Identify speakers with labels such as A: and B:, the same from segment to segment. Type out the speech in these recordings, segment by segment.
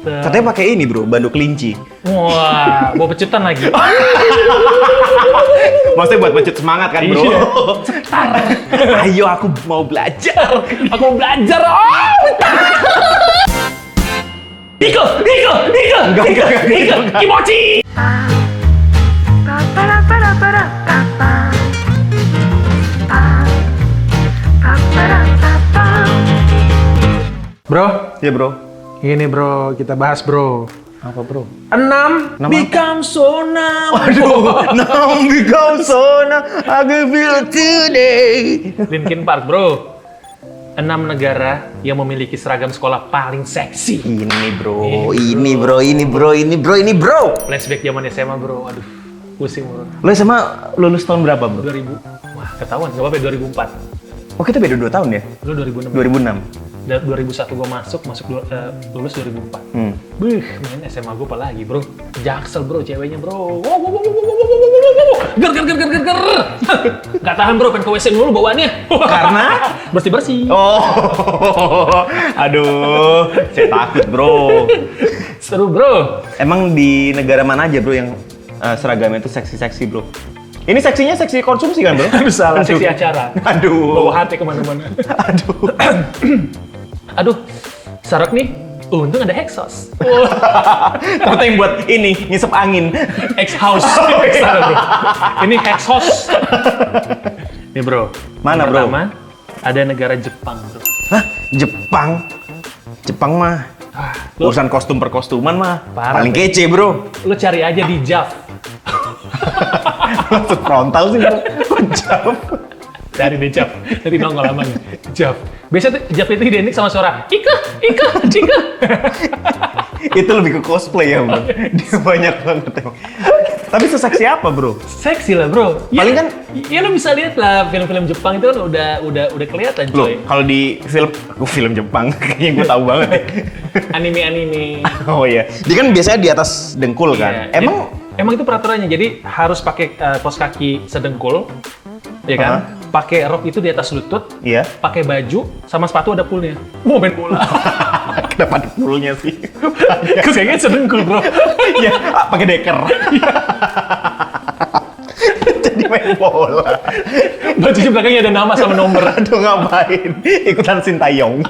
A: Katanya pakai ini bro, banduk kelinci.
B: Wah, bawa pecutan lagi.
A: Oh, Maksudnya buat pecut semangat kan bro?
B: Iya.
A: Ayo aku mau belajar.
B: Aku mau belajar. Oh, bentar. Niko, Niko, Niko,
A: Enggak,
B: Niko,
A: enggak, enggak,
B: Niko,
A: enggak.
B: Kimochi.
C: Pa pa ra pa ra pa ra pa pa. Pa pa pa ra pa pa.
D: Bro,
A: Ya bro.
D: ini bro, kita bahas bro.
B: Apa bro?
D: Enam,
A: Enam
D: become so now.
A: Aduh, now become so now, I can feel today.
B: Linkin Park bro. Enam negara yang memiliki seragam sekolah paling seksi.
A: Ini bro, ini bro, ini bro, ini bro, ini bro.
B: Flashback zaman SMA bro, aduh pusing bro.
A: Lo sama lulus tahun berapa bro?
B: 2000, wah ketahuan, gak apa-apa 2004.
A: Oh kita beda 2 tahun ya?
B: Lu 2006.
A: 2006.
B: Da- 2001 gua masuk, masuk du- eh, lulus 2004.
A: Hmm.
B: Beuh, main SMA gue apa lagi bro? Jaksel bro, ceweknya bro. Wow, wow, wow, wow, wow, wow, wow, wow, wow, wow. Ger, ger, ger, ger, ger, ger. Gak tahan bro, pengen ke WC dulu bawaannya.
A: Karena?
B: Bersih-bersih.
A: Oh, aduh, saya takut bro.
B: Seru bro.
A: Emang di negara mana aja bro yang eh, seragamnya itu seksi-seksi bro? Ini seksinya seksi konsumsi kan bro?
D: Aduh, salah.
B: Seksi acara.
A: Aduh,
B: Bawa hati kemana-mana.
A: aduh.
B: Aduh, sarok nih. Untung ada exhaust.
A: Ternyata yang buat ini ngisep angin.
B: Ex house. Ini ex house. Nih bro.
A: Mana,
B: Yang
A: bro?
B: Pertama, ada negara Jepang bro.
A: Hah? Jepang? Jepang mah
B: Ah, Lu,
A: urusan kostum per kostuman mah
B: Parah,
A: paling
B: Bro.
A: kece bro.
B: lu cari aja di Jav.
A: Langsung frontal sih bro. Kocak.
B: dari dejap nanti nongol lama nih jap biasa tuh jap itu identik sama suara ika ika ika
A: Itu lebih ke cosplay ya bro. Dia banyak banget emang. Tapi seseksi apa bro?
B: seksi lah bro
A: Paling kan-
B: ya lo bisa lihat lah film-film Jepang itu kan udah udah udah kelihatan
A: Loh,
B: coy
A: kalau di film, aku film Jepang, kayaknya gue tahu banget ya.
B: anime-anime
A: Oh iya, dia kan biasanya di atas dengkul kan.
B: Iya,
A: Emang
B: jadi- emang itu peraturannya jadi harus pakai eh, kaos kaki sedengkul ya kan pakai rok itu di atas lutut
A: Iya.
B: pakai baju sama sepatu ada poolnya mau main bola
A: Kenapa ada bulunya sih?
B: terus kayaknya sedengkul bro
A: ya, ah, pakai deker. Jadi main bola.
B: bajunya belakangnya ada nama sama nomor
A: Aduh ngapain? Ikutan sintayong.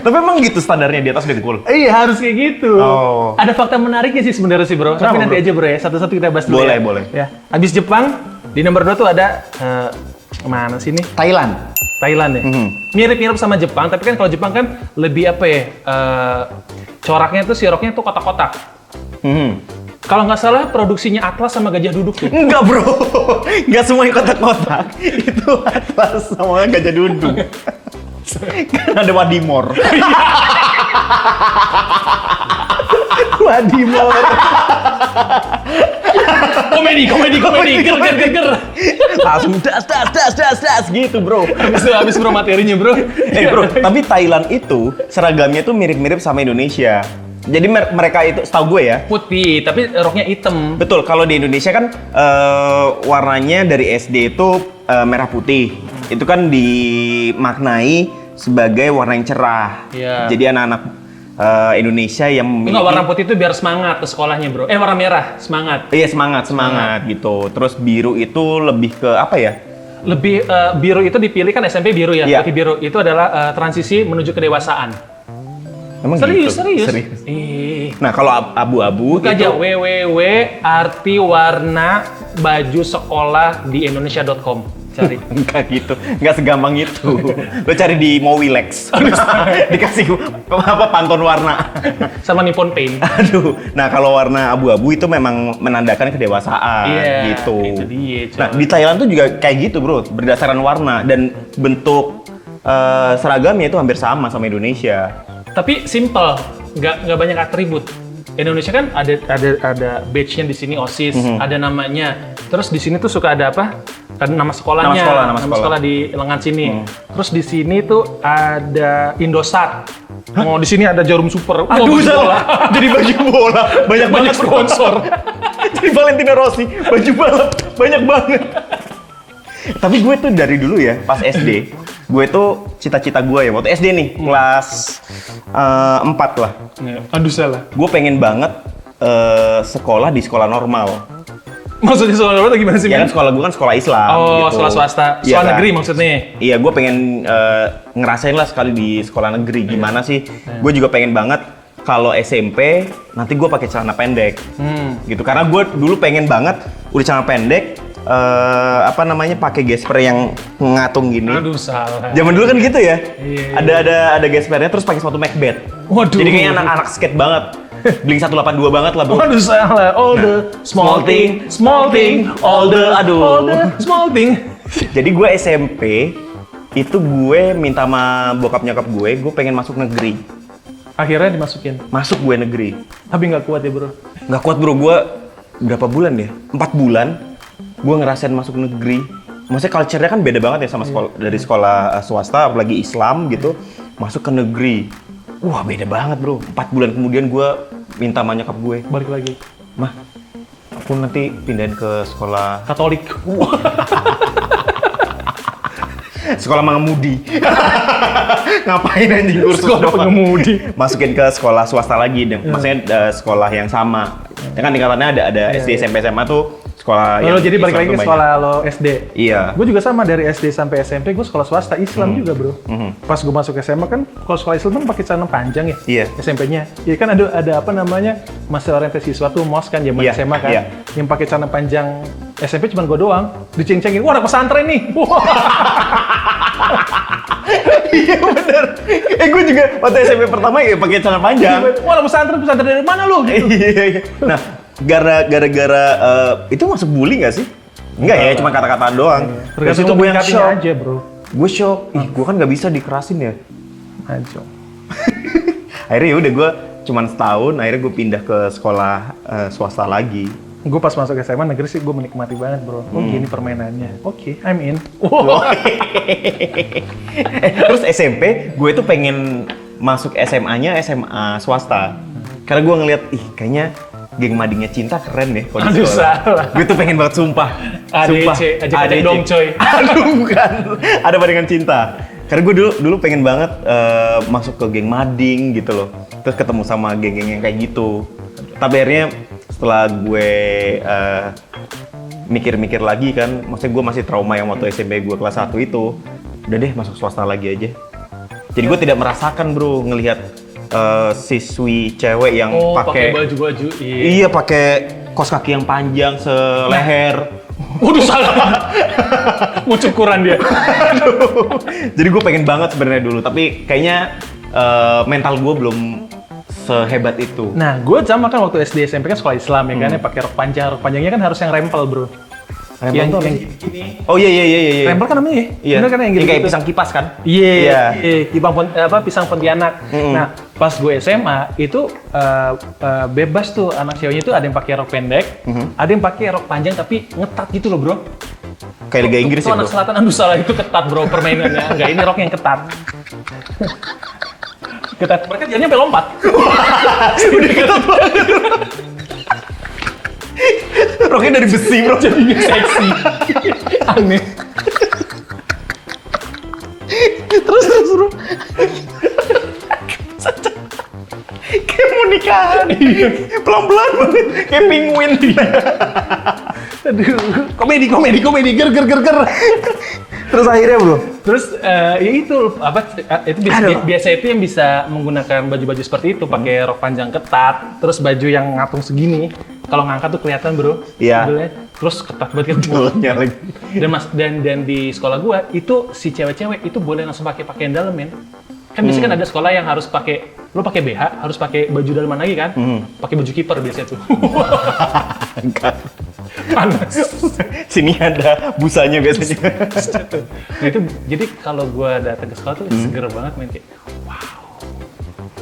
A: Tapi emang gitu standarnya di atas dengkul.
B: Iya harus kayak gitu.
A: Oh.
B: Ada fakta menariknya sih sebenarnya sih bro. Tapi
A: Kenapa,
B: nanti
A: bro?
B: aja bro ya. Satu-satu kita bahas dulu
A: Boleh,
B: ya.
A: boleh.
B: Ya. Abis Jepang di nomor 2 tuh ada eh, mana sih nih
A: Thailand.
B: Thailand ya.
A: Mhm.
B: Mirip-mirip sama Jepang. Tapi kan kalau Jepang kan lebih apa ya? eh, coraknya tuh siroknya tuh kotak-kotak.
A: Hmm.
B: Kalau nggak salah produksinya Atlas sama Gajah Duduk tuh.
A: Enggak bro, enggak semuanya kotak-kotak. Itu atlas sama gajah duduk. kan ada Wadimor. Wadimor.
B: Komedi, komedi, komedi. Ger, ger, ger, ger.
A: Langsung das, das, das, das, das gitu bro.
B: Abis, abis bro materinya bro.
A: Eh
B: Iya.
A: bro, tapi Thailand itu seragamnya tuh mirip-mirip sama Indonesia. Jadi mer- mereka itu, setahu gue ya,
B: Putih, tapi roknya hitam.
A: Betul, kalau di Indonesia kan eh, warnanya dari SD itu eh, merah putih.
B: Hmm.
A: Itu kan dimaknai sebagai warna yang cerah.
B: Iya.
A: Jadi anak-anak eh, Indonesia yang memiliki
B: Enggak, warna putih itu biar semangat ke sekolahnya bro. Eh, warna merah, semangat.
A: Iya, semangat,
B: Hmm.
A: semangat gitu. Terus biru itu lebih ke apa ya?
B: lebih eh, biru itu dipilih kan SMP biru ya,
A: Iya.
B: putih biru itu adalah eh, transisi menuju kedewasaan.
A: Emang
B: Serius,
A: gitu?
B: serius. Ih.
A: Nah, kalau ab- abu-abu gitu-
B: Buka
A: itu
B: aja www arti warna baju sekolah di indonesia.com. Cari.
A: Enggak gitu, enggak segampang itu. Lo cari di Mowilex. Dikasih apa pantun warna.
B: Sama Nippon Paint.
A: Aduh, nah kalau warna abu-abu itu memang menandakan kedewasaan
B: Iya,
A: gitu.
B: itu dia, coy.
A: nah di Thailand tuh juga kayak gitu bro, berdasarkan warna dan bentuk eh, seragamnya itu hampir sama sama Indonesia.
B: Tapi simple, nggak nggak banyak atribut. Indonesia kan ada ada ada badge-nya di sini OSIS,
A: Mhm.
B: ada namanya. Terus di sini tuh suka ada apa? Ada nama sekolahnya,
A: Nama sekolah, nama sekolah. Mhm.
B: di lengan sini. Terus di sini tuh ada Indosat. Oh, di sini ada Jarum Super. Wah, Oh, baju
A: Aduh,
B: bola.
A: salah. Jadi baju bola, banyak banget
B: Banyak
A: bro.
B: sponsor.
A: Jadi Valentino Rossi, baju balap banyak banget. Tapi gue tuh dari dulu ya, pas SD, gue tuh cita-cita gue ya waktu SD nih
B: Hmm.
A: kelas eh, 4 lah
B: Ya. Aduh salah.
A: gue pengen banget eh, sekolah di sekolah normal
B: Maksudnya sekolah apa gimana sih?
A: ya kan
B: Min?
A: sekolah gue kan sekolah Islam
B: oh,
A: gitu.
B: sekolah swasta.
A: Iya
B: Sekolah
A: kan?
B: negeri maksudnya.
A: Iya, gue pengen eh, ngerasain lah sekali di sekolah negeri
B: Iya.
A: gimana sih. Gue juga pengen banget kalau SMP nanti gue pakai celana pendek
B: Hmm.
A: gitu. Karena gue dulu pengen banget udah celana pendek, eh, apa namanya pakai gesper yang ngatung gini.
B: Aduh salah.
A: Zaman dulu kan gitu ya.
B: Iya.
A: Ada ada ada gespernya terus pakai sepatu Macbeth.
B: Waduh.
A: Jadi kayaknya anak-anak skate banget. Bling 182 banget lah, Bro.
B: Waduh salah. All the small thing, small thing, all the
A: Aduh.
B: all the small thing.
A: Jadi gue SMP itu gue minta sama bokap nyokap gue, gue pengen masuk negeri.
B: Akhirnya dimasukin.
A: Masuk gue negeri.
B: Tapi nggak kuat ya bro.
A: Nggak kuat bro, gue berapa bulan ya? Empat bulan gue ngerasain masuk negeri. Maksudnya culture-nya kan beda banget ya sama sekolah dari sekolah eh, swasta, apalagi Islam gitu, masuk ke negeri. Wah beda banget bro. Empat bulan kemudian gue minta sama nyokap gue,
B: Balik lagi.
A: mah aku nanti pindahin ke sekolah
B: Katolik.
A: sekolah mengemudi ngapain anjing kursus
B: Sekolah
A: doang?
B: pengemudi.
A: masukin ke sekolah swasta lagi deh
D: Hmm.
A: maksudnya eh, sekolah yang sama ya kan tingkatannya ada ada SD SMP SMA tuh sekolah
D: Lalu Iya, Oh, jadi balik
A: Iya, Islam
D: lagi
A: tuh
D: ke
A: banyak.
D: sekolah lo SD.
A: iya Hmm.
D: Gue juga sama dari SD sampai SMP gue sekolah swasta Islam juga bro. Pas gue masuk SMA kan kalau sekolah Islam kan pakai celana panjang ya.
A: Iya.
D: SMP-nya. Iya kan ada ada apa namanya masa orientasi siswa tuh mos kan zaman
A: Iya,
D: SMA kan.
A: iya.
D: Yang pakai celana panjang SMP cuma gue doang. Diceng-cengin, wah anak pesantren nih.
A: iya bener eh gue juga waktu SMP pertama ya pakai celana panjang
D: wah anak pesantren pesantren dari mana lu? Gitu.
A: Iya, iya. nah gara gara gara eh, itu masuk bully nggak sih Enggak ya, cuma kata-kataan doang. Terus
D: Iya. Tergantung
A: itu gue yang
D: menyikapinya
A: shock.
D: aja bro.
A: Gue shock. Ih, gue kan nggak bisa dikerasin ya.
D: Anjong.
A: akhirnya ya udah gue cuman setahun akhirnya gue pindah ke sekolah eh, swasta lagi
D: Gue pas masuk SMA negeri sih gue menikmati banget bro. Oh
A: Hmm.
D: gini permainannya. Oke, I'm in.
A: Eh, terus SMP gue tuh pengen masuk SMA-nya SMA swasta karena gue ngeliat ih kayaknya geng madingnya cinta keren deh kalau di
B: Aduh, salah.
A: gue tuh pengen banget sumpah
B: ADC, ajak-ajak dong, coy.
A: aduh bukan ada madingan cinta karena gue dulu dulu pengen banget eh, masuk ke geng mading gitu loh terus ketemu sama geng-geng yang kayak gitu tapi akhirnya setelah gue eh, mikir-mikir lagi kan maksudnya gue masih trauma yang waktu SMP gue kelas 1 itu udah deh masuk swasta lagi aja jadi gue tidak merasakan bro ngelihat eh, siswi cewek yang
B: Oh, pakai
A: pakai
B: baju-baju. Iya.
A: iya pakai kos kaki yang panjang seleher
B: Waduh salah. Ucukuran dia.
A: Aduh. jadi gue pengen banget sebenarnya dulu tapi kayaknya eh, mental gue belum sehebat itu
D: Nah, gue sama kan waktu SD SMP kan sekolah Islam ya kan, ya pakai rok panjang, rok panjangnya kan harus yang rempel bro.
A: Rempel
D: yang,
A: tuh apa
D: yang-
A: oh iya iya iya iya iya.
D: rempel kan namanya ya?
A: iya
D: Bener kan yang gitu?
A: kayak pisang kipas kan
D: Iya,
A: Iya.
D: iya, pisang pon- apa pisang Pontianak.
A: Mm-mm.
D: Nah, pas gue SMA itu eh, eh, bebas tuh anak ceweknya itu ada yang pakai rok pendek,
A: Mm-hmm.
D: ada yang pakai rok panjang tapi ngetat gitu loh bro.
A: kayak liga Inggris
B: Itu
A: ya
B: anak
A: bro
B: selatan. Aduh salah itu ketat bro permainannya. Enggak ini
D: Ini rok yang ketat.
B: ketat. Mereka jalannya sampai lompat.
A: udah ketat banget roknya dari besi bro
B: Jadinya seksi. Aneh.
A: terus terus bro kayak mau nikahan pelan pelan banget Eh, kayak penguin
D: Aduh.
A: komedi komedi komedi ger ger ger ger terus akhirnya bro
B: Terus eh, ya itu apa eh, itu biasa,
A: Aduh.
B: biasa itu yang bisa menggunakan baju-baju seperti itu pakai rok panjang ketat, terus baju yang ngatung segini. Kalau ngangkat tuh kelihatan, Bro.
A: Iya.
B: Modelnya. Terus ketat banget gitu.
A: mulutnya lagi
B: Dan Mas dan dan di sekolah gua itu si cewek-cewek itu boleh langsung pakai pakaian dalam, men. Kan biasanya kan ada sekolah yang harus pakai lo pakai BH, harus pakai baju dalaman lagi kan? Pakai baju kiper biasanya tuh. Panas.
A: sini ada busanya biasanya
B: Nah, itu jadi kalau gua datang ke sekolah tuh
A: Hmm.
B: seger banget main kayak wow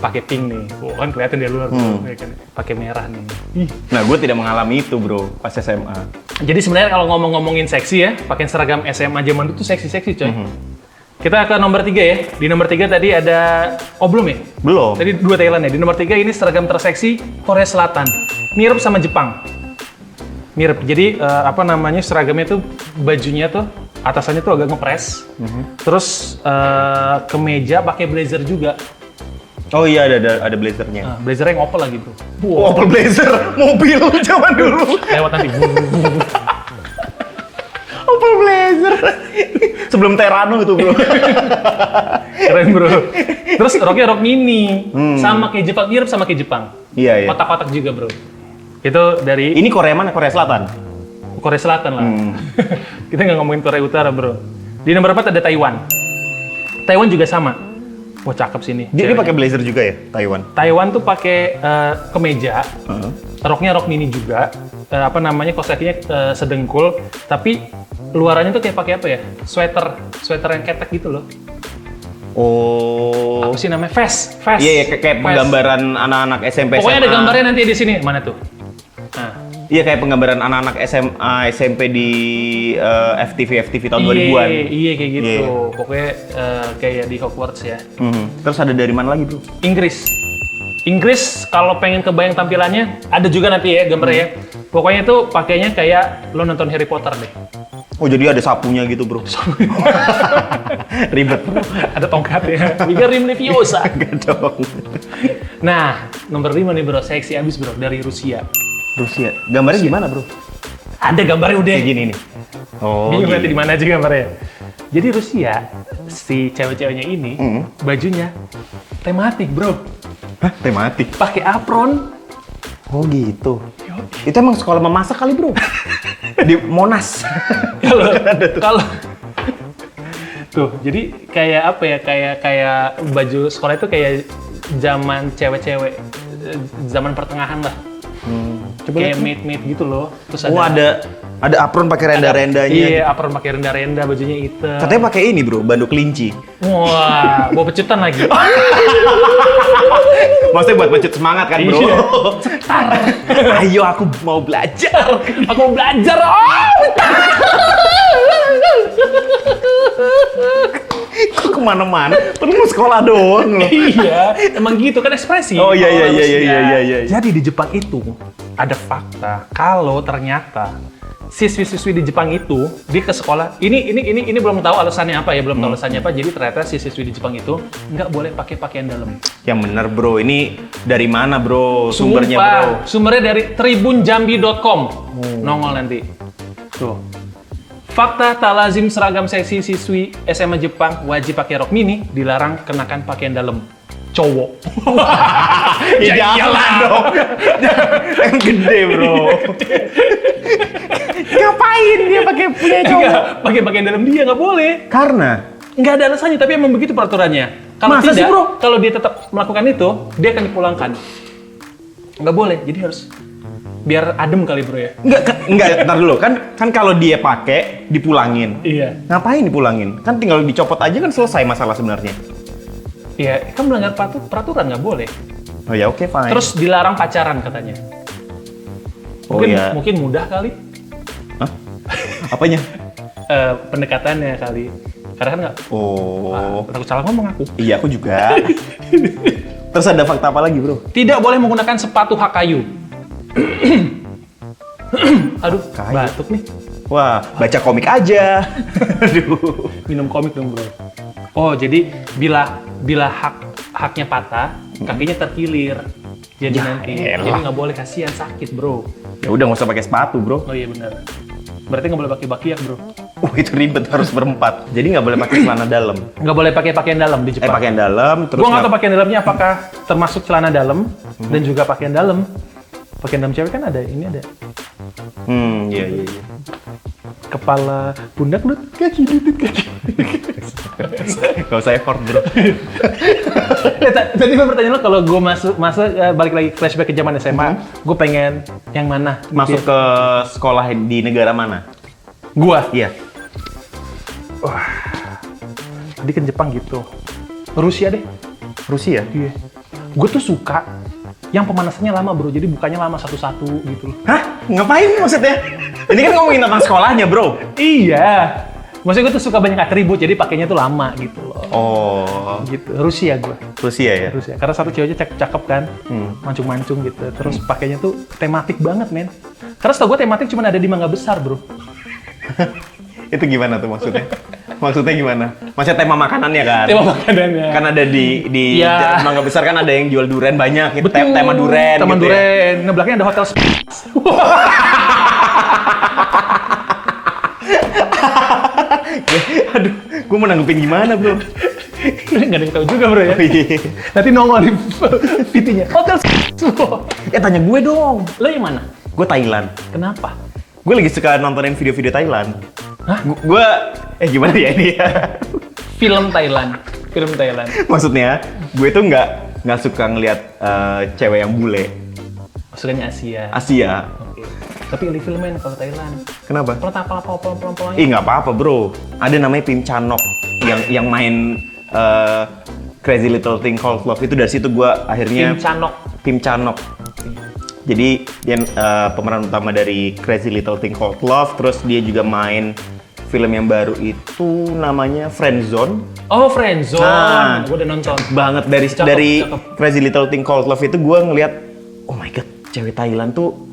B: pakai pink nih Wah, kan kelihatan dari luar tuh,
A: Hmm.
B: ya kan pakai merah nih Ih.
A: nah gue tidak mengalami itu bro pas SMA
B: jadi sebenarnya kalau ngomong-ngomongin seksi ya pakai seragam SMA zaman dulu tuh seksi-seksi coy kita ke nomor tiga ya di nomor tiga tadi ada oh belum ya
A: belum
B: tadi dua Thailand ya di nomor tiga ini seragam terseksi Korea Selatan mirip sama Jepang mirip jadi eh, apa namanya seragamnya tuh bajunya tuh atasannya tuh agak ngepres. Terus eh, kemeja pakai blazer juga.
A: Oh iya ada ada, ada blazernya.
B: Nah, blazer yang opel lagi tuh.
A: Wow, Opel blazer, mobil zaman dulu.
B: Lewat nanti. Wuh, wuh, wuh.
A: Opel blazer. Sebelum Terano itu, Bro.
B: Keren bro. Terus roknya rok mini. Sama kayak Jepang, mirip sama kayak Jepang.
A: Iya, Hmm. iya.
B: Kotak-kotak juga bro. Itu dari
A: Ini Korea mana? Korea Selatan.
B: Korea Selatan lah.
A: Hmm.
B: Kita nggak ngomongin Korea Utara bro. Di nomor 4 ada Taiwan. Taiwan juga sama. Wah cakep sini.
A: Dia, dia pakai blazer juga ya, Taiwan.
B: Taiwan tuh pakai eh, kemeja,
A: Heeh.
B: roknya rok mini juga, eh, apa namanya kosekinya eh, sedengkul, tapi luarannya tuh kayak pakai apa ya? Sweater, sweater yang ketek gitu loh.
A: Oh.
B: Apa sih namanya? Vest, vest.
A: Iya, iya kayak, kayak
B: Vest.
A: penggambaran anak-anak SMP
B: Pokoknya ada
A: SMA.
B: gambarnya nanti di sini. Mana tuh? Nah,
A: Iya, kayak penggambaran anak-anak SMA SMP di eh, FTV FTV tahun
B: iya,
A: 2000-an.
B: Iya kayak gitu.
A: Iya, iya.
B: Pokoknya eh, kayak di Hogwarts ya.
A: Mhm. Terus ada dari mana lagi, Bro?
B: Inggris. Inggris kalau pengen kebayang tampilannya ada juga nanti ya gambarnya ya. Pokoknya tuh pakainya kayak lo nonton Harry Potter deh.
A: Oh, jadi ada sapunya gitu, Bro. Ribet, Bro.
B: ada tongkat ya. Wigarim Leviosa.
A: Enggak dong.
B: Nah, nomor 5 nih bro, seksi abis bro, dari Rusia.
A: Rusia. Gambarnya gimana, Bro?
B: Ada gambarnya udah.
A: Kayak gini nih. Oh,
B: Bingung nanti
A: gini.
B: di mana aja gambarnya. Jadi Rusia, si cewek-ceweknya ini,
A: Hmm.
B: bajunya tematik bro.
A: Hah, tematik.
B: Pakai apron,
A: Oh, gitu.
B: Ya,
A: Itu emang sekolah memasak kali, Bro. di Monas.
B: kalau kalau tuh jadi kayak apa ya kayak kayak baju sekolah itu kayak zaman cewek-cewek eh, zaman pertengahan lah
A: Hmm.
B: kayak mid mid gitu loh terus
A: Oh, ada ada apron pakai renda-rendanya.
B: iya apron pakai renda-renda bajunya hitam
A: Katanya pakai ini, Bro, banduk linci.
B: wah bawa pecutan lagi
A: Maksudnya buat pecut semangat kan, Bro?
B: Iya.
A: Ayo aku mau belajar.
B: aku mau belajar oh
A: Kok kemana-mana? Kan mau sekolah doang loh.
B: iya emang gitu kan ekspresi
A: Oh, iya, iya,
B: Kalau
A: iya, iya,
B: manusia.
A: iya, iya, iya.
B: jadi di Jepang itu ada fakta kalau ternyata siswi-siswi di Jepang itu dia ke sekolah ini ini ini ini belum tahu alasannya apa ya belum
A: Hmm.
B: tahu alasannya apa jadi ternyata siswi-siswi di Jepang itu nggak boleh pakai pakaian dalam
A: Yang Ya bener bro, ini dari mana bro sumbernya
B: Sumpah,
A: bro? Hmm.
B: sumbernya dari tribunjambi.com nongol nanti tuh Fakta tak lazim seragam seksi siswi SMA Jepang wajib pakai rok mini, dilarang kenakan pakaian dalam. Cowok.
A: Ya, jangan dong. Yang gede bro. Ngapain dia pakai punya cowok?
B: Enggak, pakai pakaian dalam dia nggak boleh.
A: Karena
B: Nggak ada alasannya, tapi emang begitu peraturannya. Kalau
A: Masa
B: tidak,
A: sih, Bro?
B: kalau dia tetap melakukan itu, dia akan dipulangkan. Nggak boleh, jadi harus biar adem kali bro ya.
A: nggak kan- nggak ntar dulu kan kan kalau dia pakai dipulangin.
B: Iya.
A: Ngapain dipulangin? Kan tinggal dicopot aja kan selesai masalah sebenarnya.
B: Iya, kan melanggar patu- peraturan nggak boleh.
A: Oh ya oke fine.
B: Terus dilarang pacaran katanya.
A: oh
B: Mungkin,
A: ya.
B: mungkin mudah kali
A: Hah? Apanya?
B: eh, pendekatannya kali. Karena kan nggak
A: Oh.
B: takut salah ngomong aku.
A: Iya, aku juga. Terus ada fakta apa lagi, Bro?
B: Tidak boleh menggunakan sepatu hak kayu. Aduh,
A: Kayu.
B: batuk nih.
A: Wah, baca komik aja. Aduh.
B: minum komik dong bro. Oh jadi bila bila hak haknya patah kakinya terkilir jadi
A: Ya
B: nanti
A: elah.
B: jadi nggak boleh kasihan sakit bro.
A: Ya udah nggak usah pakai sepatu, Bro.
B: Oh iya benar. Berarti nggak boleh pakai bakiak bro.
A: Uh, itu ribet harus berempat. Jadi nggak boleh pakai celana dalam.
B: Nggak boleh pakai pakaian dalam di
A: Eh,
B: Jepang.
A: pakaian dalam terus
B: Gua nggak tahu
A: nggak-
B: pakaian dalamnya apakah termasuk celana dalam dan juga pakaian dalam. Pakaian dalam cewek kan ada ini ada
A: Hmm, iya iya iya.
B: kepala pundak lutut kaki lutut kaki.
A: Nggak usah effort, Bro.
B: Eh, ta- Tadi gue pertanyaan lo kalau gue masuk masa eh, balik lagi flashback ke zaman SMA, gue pengen yang mana? Gitu
A: Masuk
B: ya.
A: ke sekolah di negara mana?
B: gua.
A: Iya.
B: Tadi kan Jepang gitu. Rusia deh.
A: Rusia.
B: Iya. Gue tuh suka yang pemanasannya lama bro, jadi bukannya lama satu-satu gitu loh.
A: Hah? Ngapain maksudnya? Ini kan ngomongin tentang sekolahnya, Bro.
B: Iya. Maksudnya gue tuh suka banyak atribut, jadi pakainya tuh lama gitu loh.
A: Oh,
B: Gitu. Rusia gue.
A: Rusia ya.
B: Rusia. Karena satu ceweknya cakep, cakep kan,
A: Hmm.
B: mancung-mancung gitu. Terus pakainya tuh tematik banget men. Karena tau gue tematik cuma ada di Mangga Besar bro.
A: Itu gimana tuh maksudnya? Maksudnya gimana? Masih tema makanannya kan?
B: Tema makanannya.
A: Kan ada di di
B: Iya.
A: Mangga Besar kan ada yang jual durian banyak. Gitu.
B: Betul.
A: Tema durian
B: Tema
A: gitu ya.
B: durian. Eh, Ngebelakangnya ada hotel sp-
A: Aduh, gue menanggepin gimana bro?
B: Nggak ada yang tahu juga bro ya.
A: Oh, iya.
B: Nanti nongol di VT-nya. Hotel sp-
A: eh tanya gue dong.
B: Lo yang mana?
A: Gue Thailand.
B: Kenapa?
A: Gue lagi suka nontonin video-video Thailand.
B: Hah?
A: Gu- Gue, eh gimana ya ini ya?
B: Film Thailand. Film Thailand.
A: Maksudnya, gue tuh nggak nggak suka ngelihat eh, cewek yang bule
B: Masukannya Asia.
A: Ah. Asia.
B: Oke. Tapi illy filmen kalau Thailand.
A: Kenapa?
B: Pelan pelan pelan pelan pelan pelan.
A: Ih nggak apa-apa bro. Ada namanya Pim Chanok yang yang main eh, Crazy Little Thing Called Love itu dari situ gue
B: Kim
A: akhirnya
B: Chanok.
A: Pim Chanok. Jadi dia eh, pemeran utama dari Crazy Little Thing Called Love. Terus dia juga main film yang baru itu namanya Friendzone.
B: Oh Friendzone.
A: Nah.
B: Gue udah nonton.
A: banget dari
B: Cakep,
A: dari
B: cakep.
A: Crazy Little Thing Called Love itu gue ngelihat oh my god cewek Thailand tuh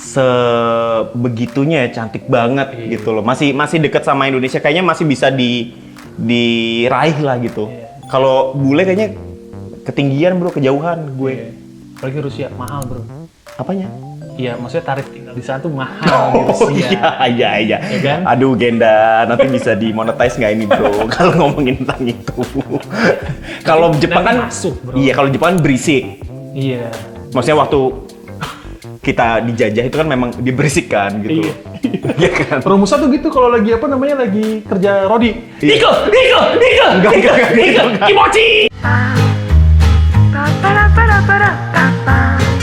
A: sebegitunya ya cantik banget
B: Iya.
A: gitu loh masih masih deket sama Indonesia kayaknya masih bisa di diraih lah gitu
B: Iya.
A: kalau bule kayaknya ketinggian bro kejauhan
B: Iya.
A: gue
B: Apalagi Rusia mahal bro.
A: apanya
B: Iya maksudnya tarif tinggal di sana tuh mahal di
A: Oh
B: Rusia.
A: iya iya iya.
B: Iya kan?
A: Aduh Genda, nanti bisa dimonetize nggak ini bro? kalau ngomongin tentang itu. kalau Jepang kan
B: masuk, bro.
A: Iya kalau Jepang kan berisik.
B: Iya.
A: maksudnya waktu kita dijajah itu kan memang diberisikan gitu
B: Iya.
A: Iya kan
B: Rumusnya tuh gitu kalau lagi apa namanya lagi kerja Rodi.
A: Iya.
B: Niko, Niko, Niko,
A: Enggak,
B: Niko,
A: enggak, enggak,
B: Niko,
A: enggak.
B: Kimochi.
C: pa pa para para para pa pa